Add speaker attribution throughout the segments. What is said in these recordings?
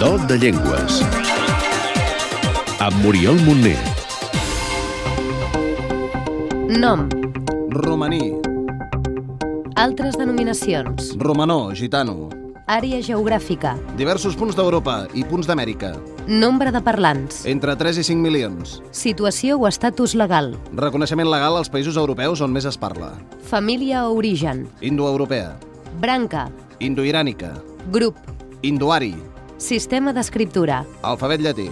Speaker 1: Dol de Llengües. Amb Muriel Montner.
Speaker 2: Nom,
Speaker 3: Romaní,
Speaker 2: altres denominacions,
Speaker 3: romanó, gitano.
Speaker 2: àrea geogràfica,
Speaker 3: Diversos punts d'Europa i punts d'Amèrica.
Speaker 2: nombre de parlants,
Speaker 3: Entre 3 i 5 milions.
Speaker 2: situació o estatus legal,
Speaker 3: Reconeixement legal als països europeus on més es parla.
Speaker 2: família o origen,
Speaker 3: Indoeuropea.
Speaker 2: branca,
Speaker 3: Indoirànica.
Speaker 2: grup,
Speaker 3: Indoari.
Speaker 2: sistema d'escriptura,
Speaker 3: Alfabet llatí.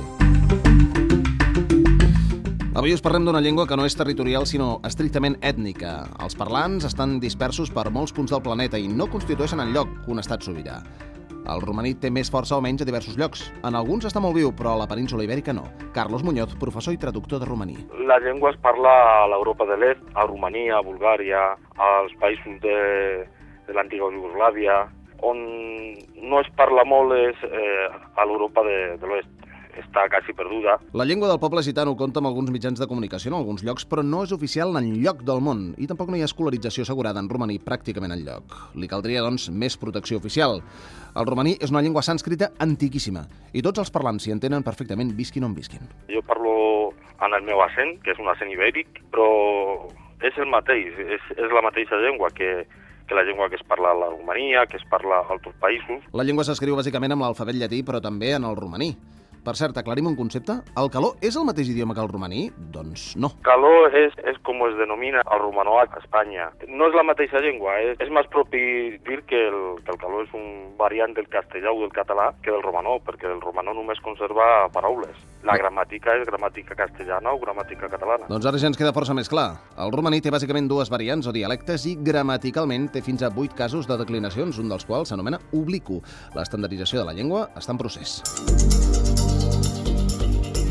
Speaker 3: Avui us parlem d'una llengua que no és territorial, sinó estrictament ètnica. Els parlants estan dispersos per molts punts del planeta i no constitueixen en lloc un estat sobirà. El romaní té més força o menys a diversos llocs. En alguns està molt viu, però a la península ibèrica no. Carlos Muñoz, professor i traductor de romaní.
Speaker 4: La llengua es parla a l'Europa de l'Est, a Romania, a Bulgària, als països de, de l'antiga Iugoslàvia. On no es parla molt és eh, a l'Europa de, de l'Oest. Està quasi perduda.
Speaker 3: La llengua del poble gitano compta amb alguns mitjans de comunicació en alguns llocs, però no és oficial en lloc del món i tampoc no hi ha escolarització assegurada en romaní pràcticament en lloc. Li caldria, doncs, més protecció oficial. El romaní és una llengua sànscrita antiquíssima i tots els parlants s'hi entenen perfectament, visquin on visquin.
Speaker 4: Jo parlo en el meu accent, que és un accent ibèric, però és el mateix, és, és la mateixa llengua que, que la llengua que es parla a la Romania, que es parla a altres països.
Speaker 3: La llengua s'escriu bàsicament amb l'alfabet llatí, però també en el romaní. Per cert, aclarim un concepte. El calor és el mateix idioma que el romaní? Doncs no.
Speaker 4: Caló és, és com es denomina el romanó a Espanya. No és la mateixa llengua, eh? és, és més propi dir que el, que el caló és un variant del castellà o del català que del romanó, perquè el romanó només conserva paraules. La gramàtica és gramàtica castellana o gramàtica catalana.
Speaker 3: Doncs ara ja ens queda força més clar. El romaní té bàsicament dues variants o dialectes i gramaticalment té fins a 8 casos de declinacions, un dels quals s'anomena oblicu. L'estandardització de la llengua està en procés.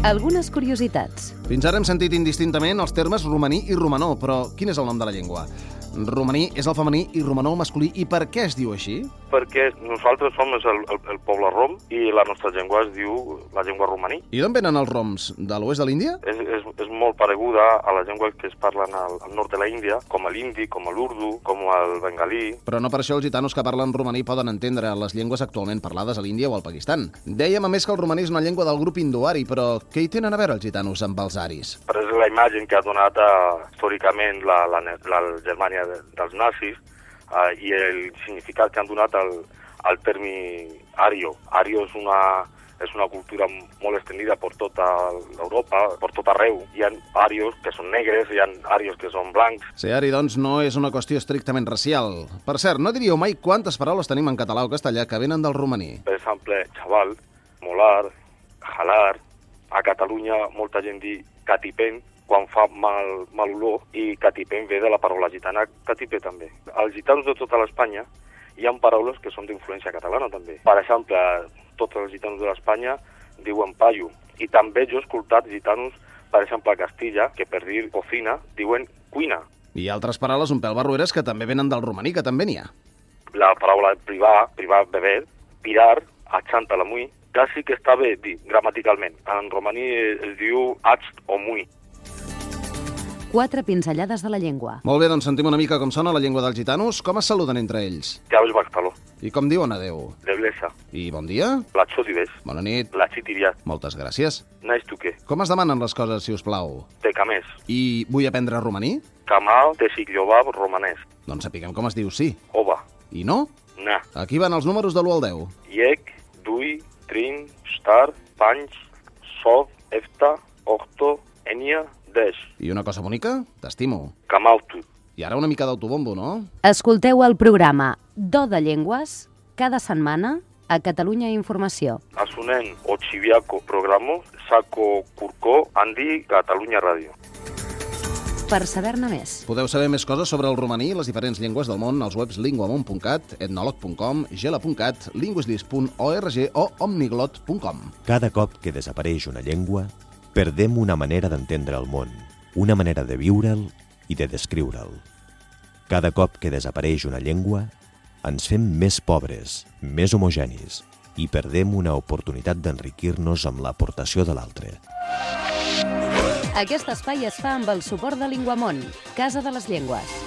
Speaker 2: algunes curiositats.
Speaker 3: Fins ara hem sentit indistintament els termes romaní i romanó, però quin és el nom de la llengua? Romaní és el femení i romanó el masculí. I per què es diu així?
Speaker 4: Perquè nosaltres som el, el, el poble rom i la nostra llengua es diu la llengua romaní.
Speaker 3: I d'on venen els roms? De l'oest de l'Índia?
Speaker 4: És, és, és molt pareguda a la llengua que es parlen al, al nord de la Índia, com l'indi, com l'urdu, com el bengalí,
Speaker 3: Però no per això els gitanos que parlen romaní poden entendre les llengües actualment parlades a l'Índia o al Pakistan. Dèiem a més que el romaní és una llengua del grup indoari, però què hi tenen a veure els gitanos amb els aris?
Speaker 4: Però és la imatge que ha donat eh, històricament la, la, ne- la Germània de, dels nazis eh, i el significat que han donat al, al terme ario. Ario és una, és una cultura m- molt estendida per tota l'Europa, per tot arreu. Hi ha arios que són negres, hi ha arios que són blancs.
Speaker 3: Ser ari, doncs, no és una qüestió estrictament racial. Per cert, no diríeu mai quantes paraules tenim en català o castellà que venen del romaní.
Speaker 4: Per exemple, xaval, molar, jalar. A Catalunya molta gent diu catipent quan fa mal, mal olor i catipent ve de la paraula gitana catipé també. Els gitanos de tota l'Espanya hi han paraules que són d'influència catalana també. Per exemple, tots els gitanos de l'Espanya diuen paio i també jo he escoltat gitanos, per exemple, a Castilla, que per dir cocina diuen cuina.
Speaker 3: Hi ha altres paraules un pèl barrueres que també venen del romaní, que també n'hi ha.
Speaker 4: la paraula privar, privar beber, pirar, achanta la mui, quasi que està bé dit gramaticalment. En romaní es, es diu acht o mui.
Speaker 2: Quatre pinzellades de la llengua.
Speaker 3: Molt bé, doncs sentim una mica com sona la llengua dels gitanos, com es saluden entre ells,
Speaker 4: Caves bastaló,
Speaker 3: i com diuen adeu.
Speaker 4: de blesa,
Speaker 3: I bon dia,
Speaker 4: la xodives,
Speaker 3: bona nit,
Speaker 4: la xitiviat,
Speaker 3: moltes gràcies.
Speaker 4: naix tu què,
Speaker 3: Com es demanen les coses, si us plau?
Speaker 4: te camés,
Speaker 3: I vull aprendre romaní?
Speaker 4: camal, te sicllobab, romanès,
Speaker 3: Doncs sapiguem com es diu sí.
Speaker 4: ova,
Speaker 3: I no?
Speaker 4: na,
Speaker 3: Aquí van els números de l'1 al 10.
Speaker 4: iec, dui, trin, star, panys, sov, efta, octo, enia, des,
Speaker 3: I una cosa bonica? T'estimo.
Speaker 4: camautu.
Speaker 3: I ara una mica d'autobombo, no?
Speaker 2: Escolteu el programa Do de Llengües cada setmana a Catalunya Informació.
Speaker 4: Asunen Ochiviaco programo, Saco Curcó, Andi, Catalunya Ràdio.
Speaker 2: Per saber-ne més.
Speaker 3: Podeu saber més coses sobre el romaní i les diferents llengües del món als webs linguamont.cat, etnolog.com, gela.cat, linguislis.org o omniglot.com.
Speaker 5: Cada cop que desapareix una llengua, perdem una manera d'entendre el món, una manera de viure'l i de descriure'l. Cada cop que desapareix una llengua, ens fem més pobres, més homogenis i perdem una oportunitat d'enriquir-nos amb l'aportació de l'altre.
Speaker 2: Aquest espai es fa amb el suport de Linguamont, Casa de les Llengües.